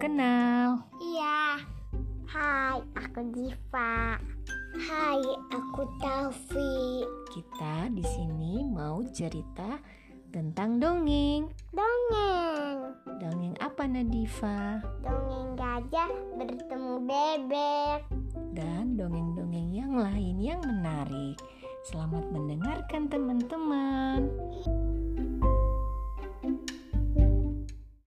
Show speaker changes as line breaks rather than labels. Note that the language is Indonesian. kenal.
Iya. Hai, aku Diva. Hai, aku Taufik.
Kita di sini mau cerita tentang dongeng.
Dongeng.
Dongeng apa Nadifa?
Dongeng gajah bertemu bebek.
Dan dongeng-dongeng yang lain yang menarik. Selamat mendengarkan teman-teman.